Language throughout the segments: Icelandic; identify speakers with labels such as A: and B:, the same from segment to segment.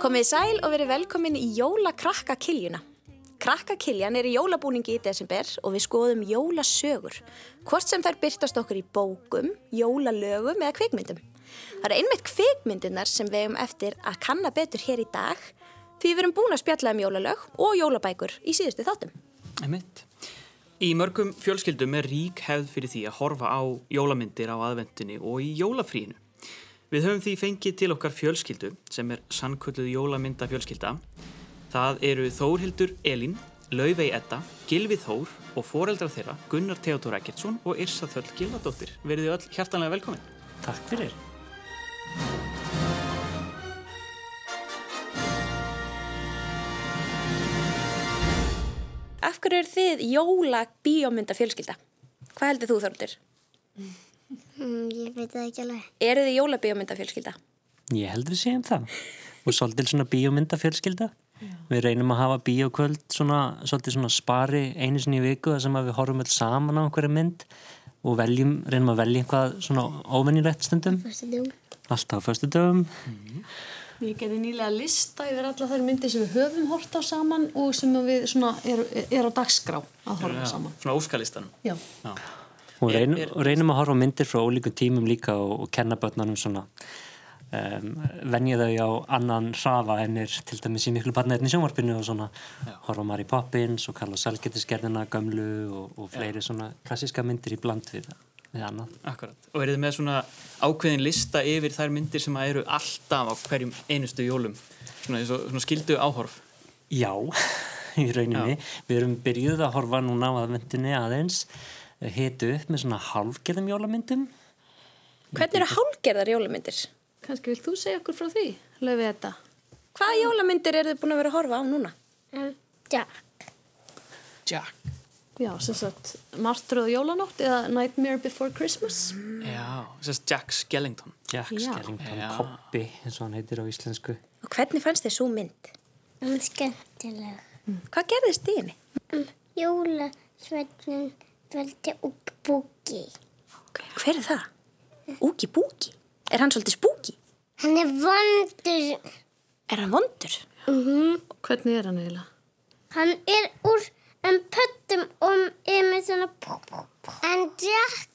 A: Komið sæl og verið velkomin í jólakrakkakiljuna. Krakkakiljan er í jólabúningi í desember og við skoðum jólasögur. Hvort sem þær byrtast okkur í bókum, jólalögum eða kvikmyndum. Það eru einmitt kvikmyndunar sem við um eftir að kanna betur hér í dag því við erum búin að spjalla um jólalög og jólabækur í síðustu þáttum.
B: Einmitt. Í mörgum fjölskyldum er rík hefð fyrir því að horfa á jólamyndir á aðvendunni og í jólafríinu. Við höfum því fengið til okkar fjölskyldu sem er sannkölluð jólamynda fjölskylda. Það eru Þórhildur Elín, Laufey Edda, Gilvi Þór og foreldrar þeirra Gunnar Theodor Ekkertsson og Irsa Þöll Gilvadóttir. Verið þið öll hjartanlega velkomin.
C: Takk fyrir.
A: Af hverju er þið jólabíómynda fjölskylda? Hvað heldur þú Þorundur?
D: Mm, ég veit það ekki alveg.
A: Eru þið jólabíómynda fjölskylda?
C: Ég held við séum það. Og svolítil svona bíómyndafjölskylda. Við reynum að hafa bíókvöld svona, svolítið svona spari einu sinni í viku þar sem að við horfum öll saman á einhverja mynd og veljum, reynum að velja einhvað svona óvennilegt stundum.
D: Fyrstu djúm.
C: Alltaf á föstu dögum.
E: Ég gerði nýlega lista yfir alla þær myndir sem við höfum hort á saman og sem að við svona er, er á dagskrá að horfa saman.
B: Svona óskalistan.
E: Já.
B: Já.
C: Og reynum,
B: Er- er-
C: og reynum að horfa á myndir frá ólíkum tímum líka og, og kenna börnunum svona um, venja þau á annan hrafa en er til dæmis í miklu barnaðin í sjónvarpinu og svona horfa á Mary Poppins og Karla Selgetiskerðina gömlu og, og fleiri svona klassíska myndir í bland við, við annað.
B: Akkurat. Og verið þið með svona ákveðin lista yfir þær myndir sem að eru alltaf á hverjum einustu jólum. Svona, eins og- svona skildu áhorf.
C: Já, í rauninni. Við erum byrjuð að horfa núna á aðvendunni aðeins hitu upp með svona halvgerðum jólamyndum.
A: Hvernig eru hálgerðar jólamyndir?
E: Kanski vil þú segja okkur frá því, löfið þetta.
A: Hvaða jólamyndir eru þið búin að vera að horfa á núna?
D: Mm, Já.
B: Jack.
E: Já, sem sagt, Martröð Jólanótt eða Nightmare Before Christmas.
B: Já, þess að Jack Skellington.
C: Jack
E: Já.
C: Skellington
B: Já.
C: Koppi, eins og hann heitir á íslensku.
A: Og hvernig fannst þið svo mynd?
D: Það er skemmtileg.
A: Hvað gerðist í henni?
D: Jólasveitnin veldi upp búki.
A: Hver er það? Úki Búki? Er hann svolítið spúki?
D: Hann er vondur.
A: Er hann vondur?
E: Hvernig er hann eiginlega?
D: Hann er úr um pöttum og er með svona pú, pú, pú. En Jack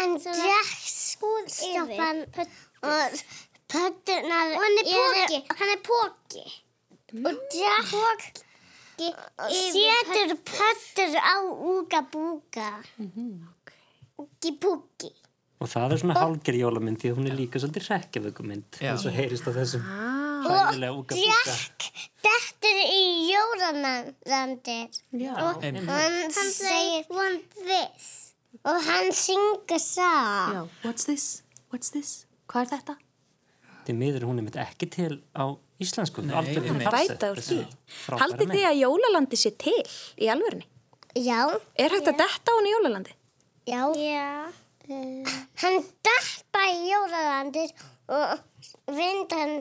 D: en Jack skúð yfir og pöttunar og hann er Mm. póki hann er póki og Jack setur pöttur á úga búga Mhm. úgi búgi
C: Og það er svona halvgerð jólamynd því að hún er líka svolítið rekkjavökumynd.
B: Já.
C: eins og heyrist á þessum
A: Ah.
D: og
C: hræðilega úka búka.
D: Jack dettur í jólanandir
E: Já.
D: og
B: Einmitt.
D: hann segir one this og hann syngur sá
E: Já, what's this? What's this? Hvað er þetta?
C: Því miður er hún er mitt ekki til á íslensku. Nei,
B: einmitt.
A: Bæta úr því. Haldið þið að jólalandi sé til í alvörni?
D: já,
A: Er hægt að detta á hann í jólalandi?
D: já, já. hann datt bara í jólanandir og vind hann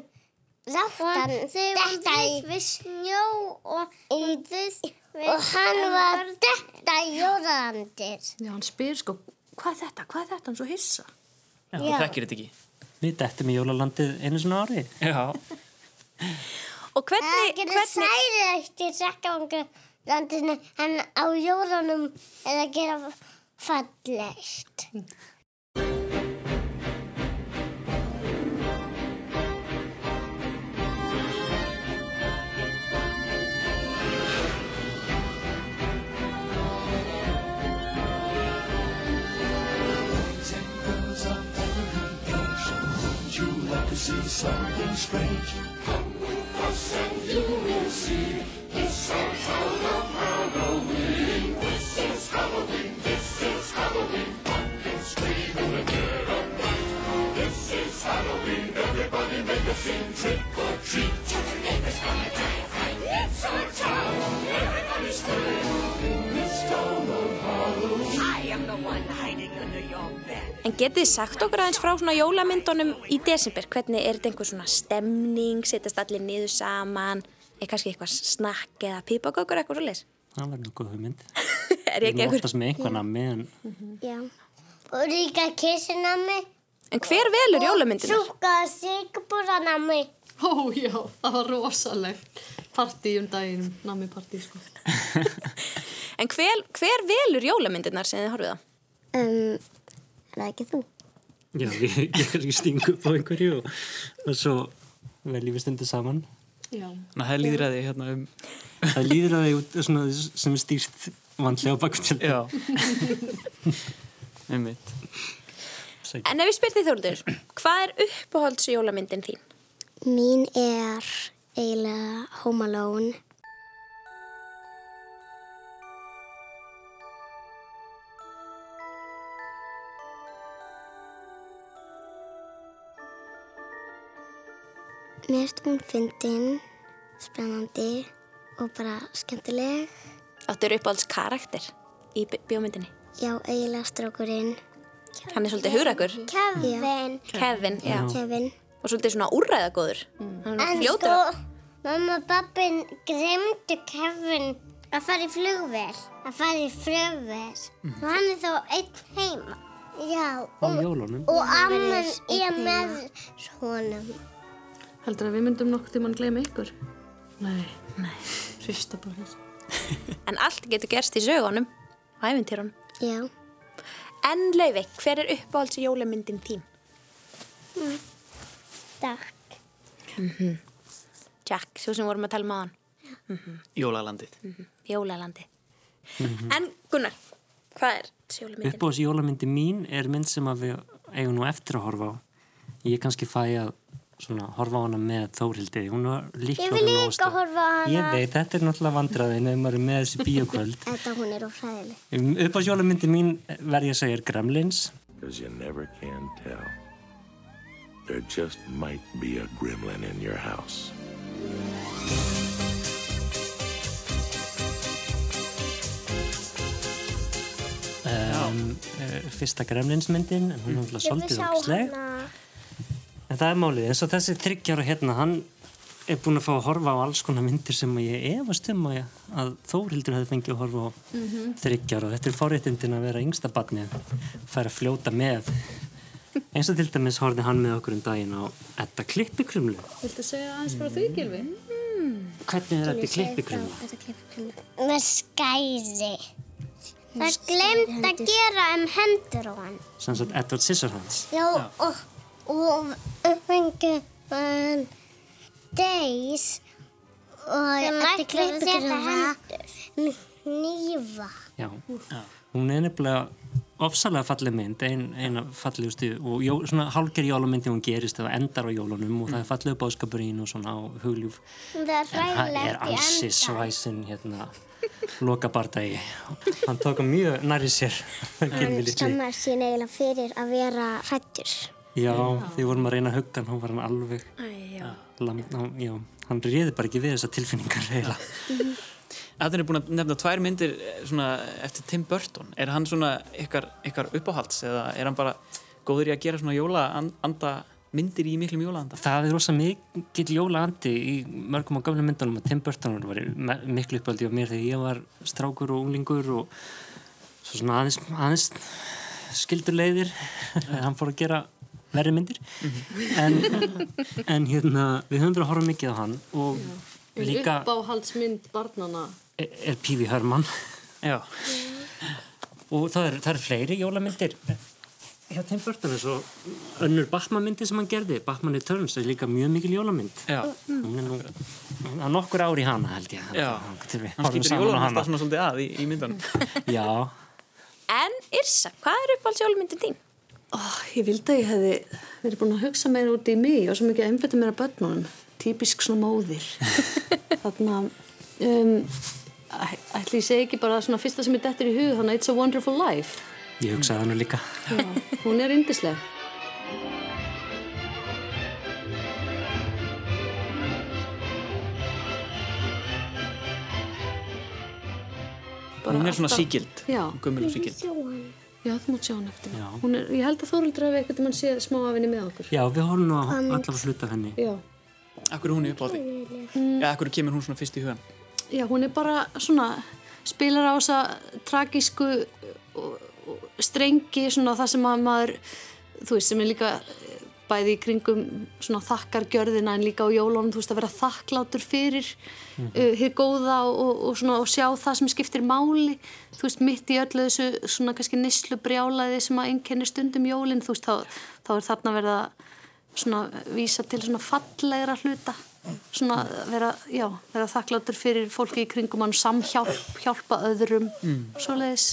D: Látt hann detta í við snjó og, og hann var detta í jólanandir.
E: Já, hann spyr sko, hvað er þetta? Hvað er þetta? Hann er svo hissa.
B: Þú þekkir þetta ekki.
C: Við dettum í jólalandið einu svona ári.
B: Já.
A: Og
D: Það
A: hvernig,
D: gerir
A: hvernig,
D: særi eftir sakkavangalandinu en á jólunum er að gera fallegt.
A: en getið þið sagt okkur aðeins frá svona jólamyndunum í desember? Hvernig er þetta einhver svona stemning, setjast allir niður saman, er kannski eitthvað snakk eða pípagökur eitthvað svo leys?
C: Það var nú góð hugmynd.
A: Er
C: Við
A: ekki
C: erum
A: einhver?
C: oftast með einhver nammi en
D: Já. Og líka kissunami
A: En hver velur jólamyndina?
D: Súka sigurbúranami
E: Ó já, það var rosalegt partí um daginn, nami partí sko.
A: En hver, hver velur jólamyndirnar sem þið horfið á?
D: Um, er það ekki þú?
C: Já, ég, ég kannski sting upp á einhverju og, og svo veljum við stundu saman.
E: Já.
B: Þannig að það er líðræði hérna um...
C: Það líður að það er svona sem er stýrt vandlega á bakvittil.
B: Já. Einmitt.
A: En ef ég spyr þið Þóruldur, hvað er uppáhalds jólamyndin þín?
D: Mín er eiginlega Home Alone. Mér erst hún fyndin, spennandi og bara skemmtileg.
A: Áttu eru uppáhalds karakter í bi- bíómyndinni?
D: Já, eiginlega strákurinn.
A: Hann er svolítið hugrakur.
D: Kevin.
A: Kevin, já.
D: Kevin.
A: Og svolítið svona úrræðagóður. Hann er
F: En
A: fljótur
F: sko,
A: að-
F: mamma og pappin glemdu Kevin að fara í flugvél, að fara í flugvél. Og hann er þá einn heima.
D: Já,
C: Mm. Á jólunum.
F: Og amman er með honum.
E: Heldur að við myndum nokkuð tíma að gleyma ykkur? Nei. Nei. Hrista bara þess.
A: En allt getur gerst í sögunum og æfintýrunum.
D: já.
A: En Lauvi, hver er uppáhalds jólamyndin þín?
D: Takk.
A: Jack, svo sem vorum að tala maður.
B: Jólalandið.
A: Jólalandi. En Gunnar, hvað er jólamyndin?
C: Uppbóðs jólamyndi mín er mynd sem að við eigum nú eftir að horfa á. Ég kannski fæ að svona, horfa á hana með Þórildi. Hún var líka
F: Ég vil líka
C: orðin óstæð.
F: horfa á hana.
C: Ég veit, þetta er náttúrulega vandraðin ef maður er með þessi bíokvöld.
D: Þetta hún er ófræðileg.
C: Uppbóðs jólamyndi mín eh, verð ég að segja er Gremlins.
G: Because you never can tell. There just might be a gremlin in your house.
C: um, eh, fyrsta gremlinsmyndin en hún er náttúrulega svolítið ógisleg en það er málið, eins og þessi þryggjára hérna, hann er búinn að fá að horfa á alls konar myndir sem að ég efast um að, að Þórildur hefði fengið að horfa á mm þryggjára og þetta er forréttindin að vera yngsta barnið færa að fljóta með eins og til dæmis horfði hann með okkur um daginn á Edda klippikrumlu
E: Viltu segja aðeins frá því, Gilvi?
C: hvernig er Edda klippikrumlu?
D: Þetta klippir henni.
F: Með skæri. Það glemt að gera um hendur á hann.
C: sem sagt Edward Scissorhands
F: Já, og, og fengi um, deis og
D: Sem
F: þetta
D: ætlar að setja
F: hendur. Nýfa.
C: Já. Hún er nefnilega ofsalega falleg mynd, ein, eina fallegustu og jó, svona hálger jólamyndi hún gerist eða endar á jólunum og það er fallegu báskapurinn og svona á hugljúf
F: Það er
C: en það er
F: ræðilegt í
C: ansi
F: enda.
C: svæsin hérna loka bardagi hann tók hann mjög nærri sér Gylfi litli.
D: Skammar sín eiginlega fyrir að vera hrættur.
C: Já, því vorum að reyna að hugga hann, hún var hann alveg
A: Æ, já.
C: lam, hann, já, hann réði bara ekki við þessa tilfinningar reyla
B: Þetta er búin að nefna tvær myndir eh, svona, eftir Tim Burton. Er hann svona ykkar, ykkar uppáhalds eða er hann bara góður í að gera svona jólaanda myndir í miklum jólaanda?
C: Það er rosa mikill jólaandi í mörgum á gamla myndunum að Tim Burton var me- miklu uppaldi á mér þegar ég var strákur og unglingur og svo svona aðeins, aðeins skildur leiðir hann fór að gera verri myndir en, en hérna við höfum verið að horfa mikið á hann og líka
E: Uppáhaldsmynd barnana.
C: er, er Pífi Hörmann
B: Já.
C: og það er, það er fleiri jólamyndir hjá Tim Burton eins og önnur Batman myndi sem hann gerði Batman Returns er líka mjög mikil jólamynd
B: Já.
C: hún er nú það er nokkur ár í hana held ég
B: Já.
C: Þangað til við
B: Hann
C: horfum
B: skýtur
C: saman á
B: jólaanda
C: hana
B: svona svolítið að í, í myndunum.
C: já,
A: En Irsa, hvað er uppáhalds jólamyndin þín?
E: Ó, ég vildi að ég hefði verið búin að hugsa meira út í mig og svo mikið að einbetta mér að börnunum. Típisk svona móðir. Þarna, um, æ- ætli ég segi ekki bara svona fyrsta sem ég dettir í hug, þannig að It's a Wonderful Life.
C: ég hugsaði hann líka
E: Já, hún er yndisleg. Bara
B: Hún er svona
E: alltaf-
B: síkild.
E: Já.
B: Gömul og síkild.
E: Já, þú mátt sjá hann eftir.
C: Já.
E: Hún er, ég held að Þóruldur hafi eitthvað mann séð smá af henni með okkur.
C: já, við horfum nú á allavega hluta af henni
E: Já.
B: Akkur er hún í uppáhaldi? Já, akkur kemur hún svona fyrst í hugan?
E: Já, hún er bara svona, spilar á þessa tragísku uh, og- og strengi, svona það sem að maður, þú veist, sem er líka uh, bæði í kringum svona þakkargjörðina en líka á jólunum, þú veist að vera þakklátur fyrir mm hið góða og, og, og svona og sjá það sem skiptir máli, þú veist mitt í öllu þessu svona kannski nýslu brjálaði sem að einkenni stundum jólinn, þú veist þá, þá er þarna verið að svona vísa til svona fallegra hluta, svona vera, já, vera þakklátur fyrir fólki í kringum hann samhjálp, hjálpa öðrum, svoleiðis.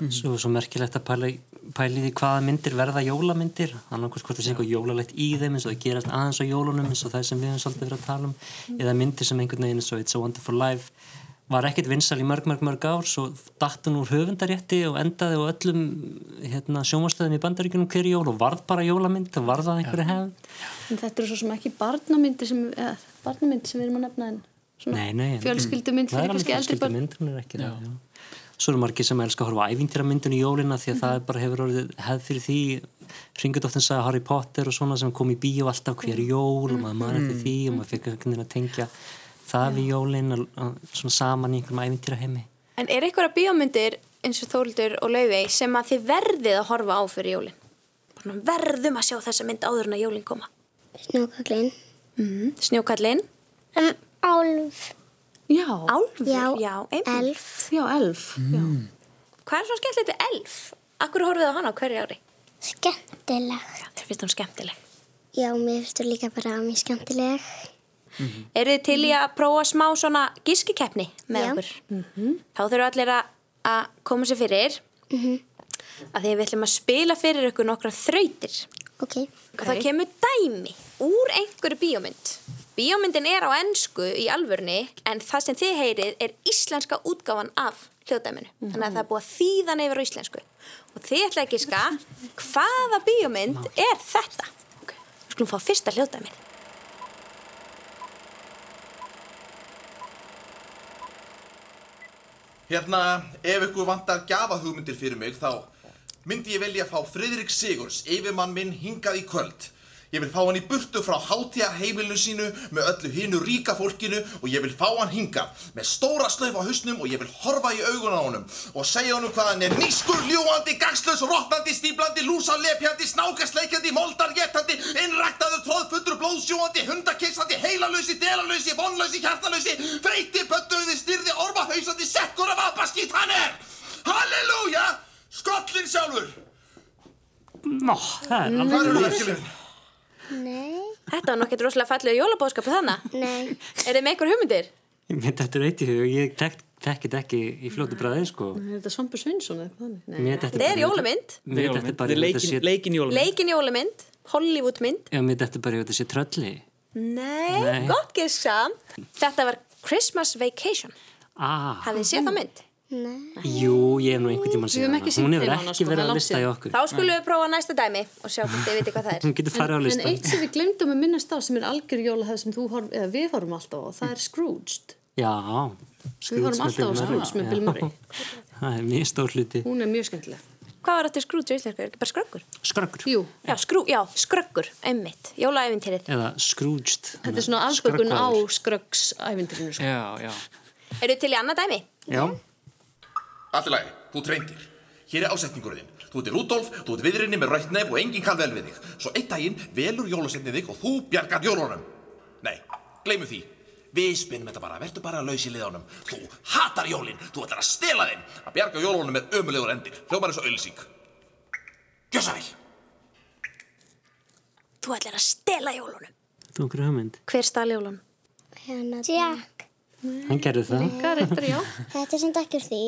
B: Mhm.
C: Svo, svo merkilegt að pæla, í- pæla í því hvaða myndir verða jólamyndir annarkurs hvort það sé eitthvað jólalegt í þeim eins og það gerast aðeins á jólunum eins og það sem við höfum svolítið verið að tala um eða myndir sem einhvern veginn eins og It's a Wonderful Life var ekkert vinsal í mörg, mörg, mörg ár svo datt hún úr höfundarétti og endaði á öllum hérna, sjómastöðum í bandaríkunum hverju jól og varð bara jólamynd og varð að einhverju hefnd
E: En þetta eru svo sem ekki barnamyndir sem, eða, barnamyndir sem við erum að nefna en svona
C: Nei, nei, en- Mm.
E: fjölskyldumynd
C: Það er
E: fyrir
C: alveg
E: kannski eldri börn.
C: fjölskyldumynd, hún er ekki það, já. Svo eru margir sem elskar að horfa á ævintýramyndun í jólina því að það er
E: Mhm.
C: bara hefur orðið hefð fyrir því Ringudóttin sagði Harry Potter og svona sem kom í bíó alltaf hver
E: Mhm.
C: jól og maður mann eftir því og maður fekk einhvern veginn að tengja það við jólin að- að- svona saman í einhverjum ævintýraheimi
A: En er einhverja bíómyndir eins og Þóldur og Laufey sem að þið verðið að horfa á fyrir jólin? Bara verðum að sjá þessa mynd áður en að jólin koma.
F: Snjókallinn.
A: Mm. Snjókallinn,
F: Um, álf.
E: Já,
A: Álfur,
F: Já,
A: já, einmitt.
F: Elf.
E: já, elf. Já.
A: Hvað er svona skemmtilegt við Elf? Akkur horfið á hana á hverju ári?
F: Skemmtilegt.
A: Já, þér finnst hún skemmtileg.
F: Já, mér finnst þú líka bara mjög skemmtileg.
A: Eru þið til í að prófa smá svona gískikeppni með
F: Já.
A: okkur? Þá þurfum allir að, að koma sér fyrir. Mm Að því við ætlum að spila fyrir ykkur nokkra þrautir.
F: Ok.
A: Og það kemur dæmi úr einhverju bíómynd. Bíómyndin er á ennsku í alvörni en það sem þið heyrið er íslenska útgáfan af hljóðdæminu. Þannig að það er búið að þýðan yfir á íslensku. Og þið ætla ekki ska hvaða bíómynd er þetta? Við skulum fá fyrsta hljóðdæmið.
H: Hérna, ef ykkur vantar gjafahugmyndir fyrir mig, þá myndi ég velja að fá Friðrik Sigurðs, yfirmann minn, hingað í kvöld. Ég vil fá hann í burtu frá hátíða heimilinu sínu með öllu hinu ríka fólkinu og ég vil fá hann hingað með stóra slöf á hausnum og ég vil horfa í augun á honum og segja honum hvað hann er nýskur, ljúandi, gangslaus, rottandi, stíblandi, lúsalepjandi, snákasleikjandi, moldarjetandi, innræktaður, tróðfullur, blóðsjúandi, hundakissandi, heilalösi, delalösi, vonlösi, hjartalösi, freyti, pöttuði, styrði, ormahausandi, sekkur af apaskýtt hann er! Halleluja! Skollin sjálfur!
C: Nó, það er
H: Hvað eru
C: alveg
H: verkefnin?
F: Nei.
A: Þetta var nokkið rosalega fallið jólabóðskapu þannig.
F: Nei.
A: Er þið með einhver hugmyndir?
C: Ég myndi þetta reyndi í hug og ég tek- tekki þetta ekki í fljótu bræði sko
E: Er þetta Svampu Svinsson eða þannig? Nei.
A: Þetta er jólamynd.
C: Mér þetta bara í hug að þetta sé-
B: leikin, leikin jólamynd.
A: Leikin jólamynd, Hollywoodmynd.
C: Já, mér þetta bara í hug að þetta sé trölli
A: Nei,
C: Nei.
A: gott gísk samt. Þetta var Christmas Vacation.
C: Ah,
A: Hafið þið séð það mynd?
C: jú, ég hef nú einhvern tímann
E: Við höfum
C: síðan
E: ekki
C: Hún
E: sýnt
C: hefur
E: þeim hana,
C: ekki
E: sko, það er
C: verið að
E: langt
C: lista í
E: síðan.
C: okkur
A: Þá skulum við prófa næsta dæmi og sjá hvort þið viti hvað það er.
C: Hún getur farið á
E: En
C: listan.
E: eitt sem við glemdum að minnast á sem er algjör jólahæð sem þú horf, eða við horfum alltaf á, það er Scrooged.
C: Já.
E: Við horfum alltaf á Scrooge með Bill Murray.
C: Það er mjög stór hluti.
E: Hún er mjög skemmtileg.
A: Hvað var þetta skrúti í íslensku? Er ekki bara skröggur?
C: Skröggur.
E: Jú,
A: Já, skrú, já, skröggur, einmitt. Jólaævintýrið.
C: Eða Scrooged.
E: þetta er svona afskökun á Scruggs ævindirinu. Sko.
B: Já, já.
A: Eru til í annað dæmi?
C: Já.
H: Allt í lagi, þú ert reyndir. Hér er ásetningurinn. Þú ert í Rudolf, þú ert viðrinni með rætt nef og enginn kann vel við þig. Svo einn daginn velur jólasetnið þig og þú bjargar jólunum. Nei, gleymu því. Við spinnum þetta bara, verður bara laus í liðanum. Þú hatar jólin, þú ætlar að stela þeim. Að bjarga jólunum er ömulegur endir. Hljómar eins og ölsík. Gjössavill!
A: Þú ætlar að stela jólunum.
C: Þú okkur hugmynd.
A: Hver stal jólunum?
F: Hérna. Jack.
C: Hann gerði það.
E: Hvað er þetta, já?
F: Þetta er sem ekki úr því.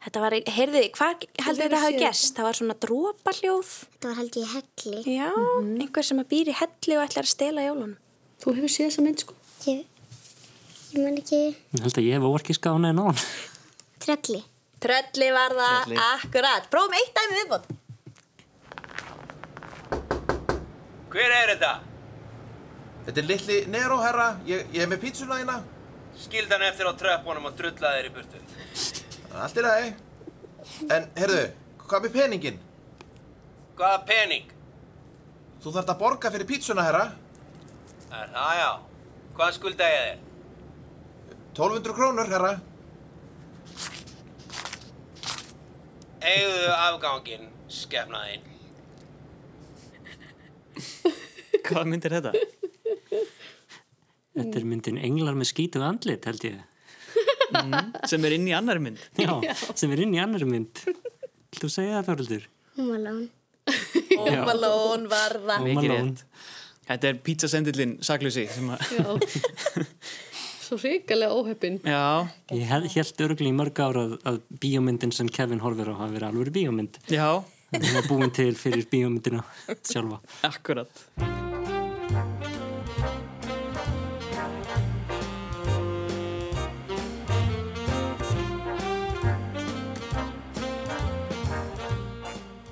A: Þetta var, heyrðu þið, hvað heldur þetta hafi gerst? Það var svona drópaljóð.
F: Þetta var held ég í helli.
A: Já, Mhm. einhver sem að býr í helli og ætlar að stela jólunum.
E: Þú hefur séð þessa mynd, sko.
F: Ég, ég man ekki.
C: Ég held að ég hef orkiska á hana en á hann.
F: Trölli.
A: Trölli var það, akkurat. Prófum eitt dæmi viðbót.
I: Hver er þetta?
H: Þetta er litli Nero, herra. Ég, ég er með pítsuna hérna.
I: Skildi hann eftir á tröppunum og drulla þeir í burtu.
H: Allt í lagi. En, herðu, hvað með peningin?
I: Hvaða pening?
H: Þú þarft að borga fyrir pítsuna, herra.
I: Er það já? Hvað skulda ég þér?
H: 1200 krónur, herra.
I: Eigðu afganginn, skefnaðinn.
B: Hvað mynd er þetta?
E: Mm.
C: Þetta er myndin Englar með skítu andlit, held ég.
B: Sem er inn í annari mynd.
C: Já, sem er inn í annar mynd. Þú segja það, Þorldur?
F: Hún var lán.
A: Ómalón varða.
B: Mikið
C: Ómalón.
B: rétt. Þetta er pizzasendillin saklösi sem að...
E: Svo ríkalega óheppin.
B: Já,
C: Ég held örgulega í mörg ára að, að bíómyndin sem Kevin horfir á hafi verið alveg bíómynd.
B: já,
C: Hún var búin til fyrir bíómyndina sjálfa.
B: akkurat.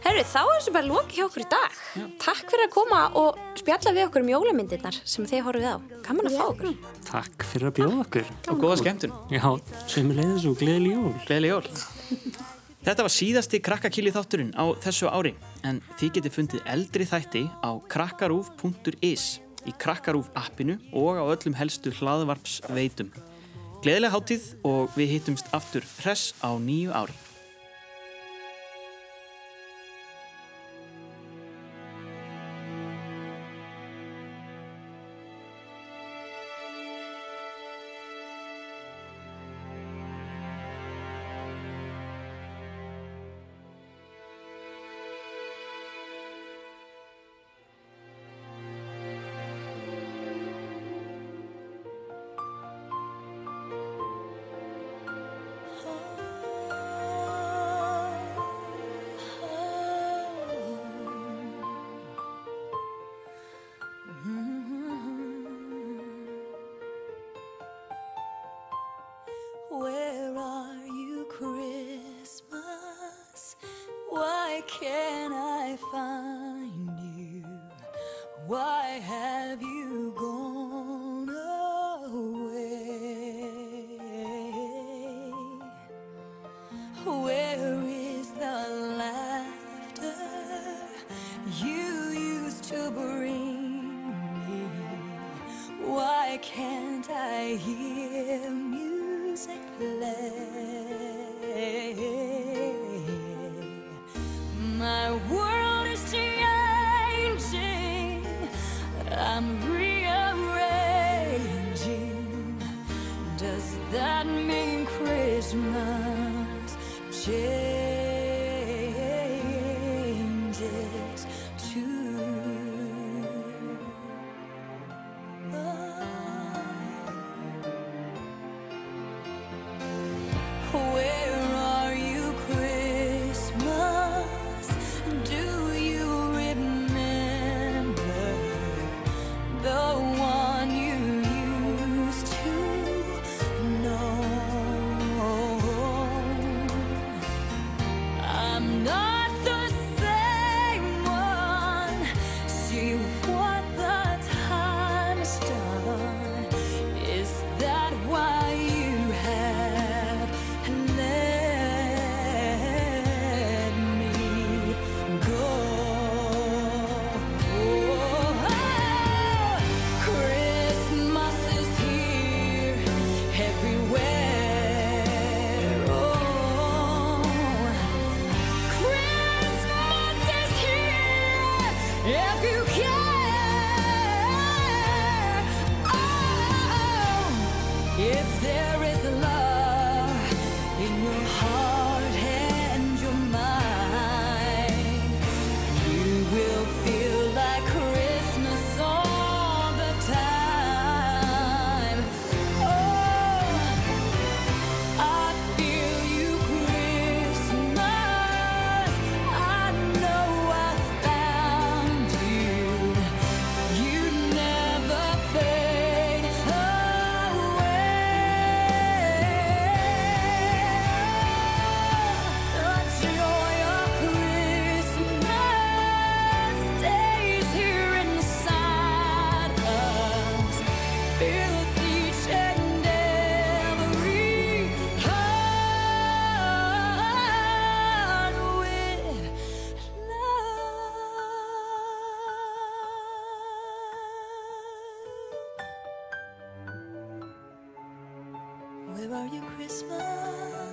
A: Herru, þá er þessu bara lokið hjá okkur í dag. Takk fyrir að koma og spjalla við okkur um jólamyndirnar sem þið horfið á. Gaman að fá okkur.
C: Takk fyrir að bjóða okkur.
B: Og góða skemmtun.
C: Já, sem er leiðis og gleðil jól.
B: Gleðileg jól. Þetta var síðasti krakkakýli þátturinn á þessu ári en þið getið fundið eldri þætti á krakkarúf.is í krakkarúf appinu og á öllum helstu hlaðvarpsveitum. Gleðileg hátíð og við hittumst aftur hress á nýju ári.
J: Where are you, Christmas? Why can't I find you? Why have you gone away? Where is the laughter you used to bring me? Why can't I hear music play? My world is changing. I'm rearranging. Does that mean Christmas changes too? Where are you, Christmas? Do you remember the one you used to know? I'm not the same one. See what the time's done. Is that why you have let me go? Oh, Christmas is here everywhere. Oh. Christmas is here if you care. Oh, if there is love in your heart and your mind, you will feel like Christmas all the time. Oh. I feel you, Christmas. I know I found you. You never fade away. The joy of Christmas stays here inside us. Feels each and every heart with love. Where are you, Christmas? Mm-hmm.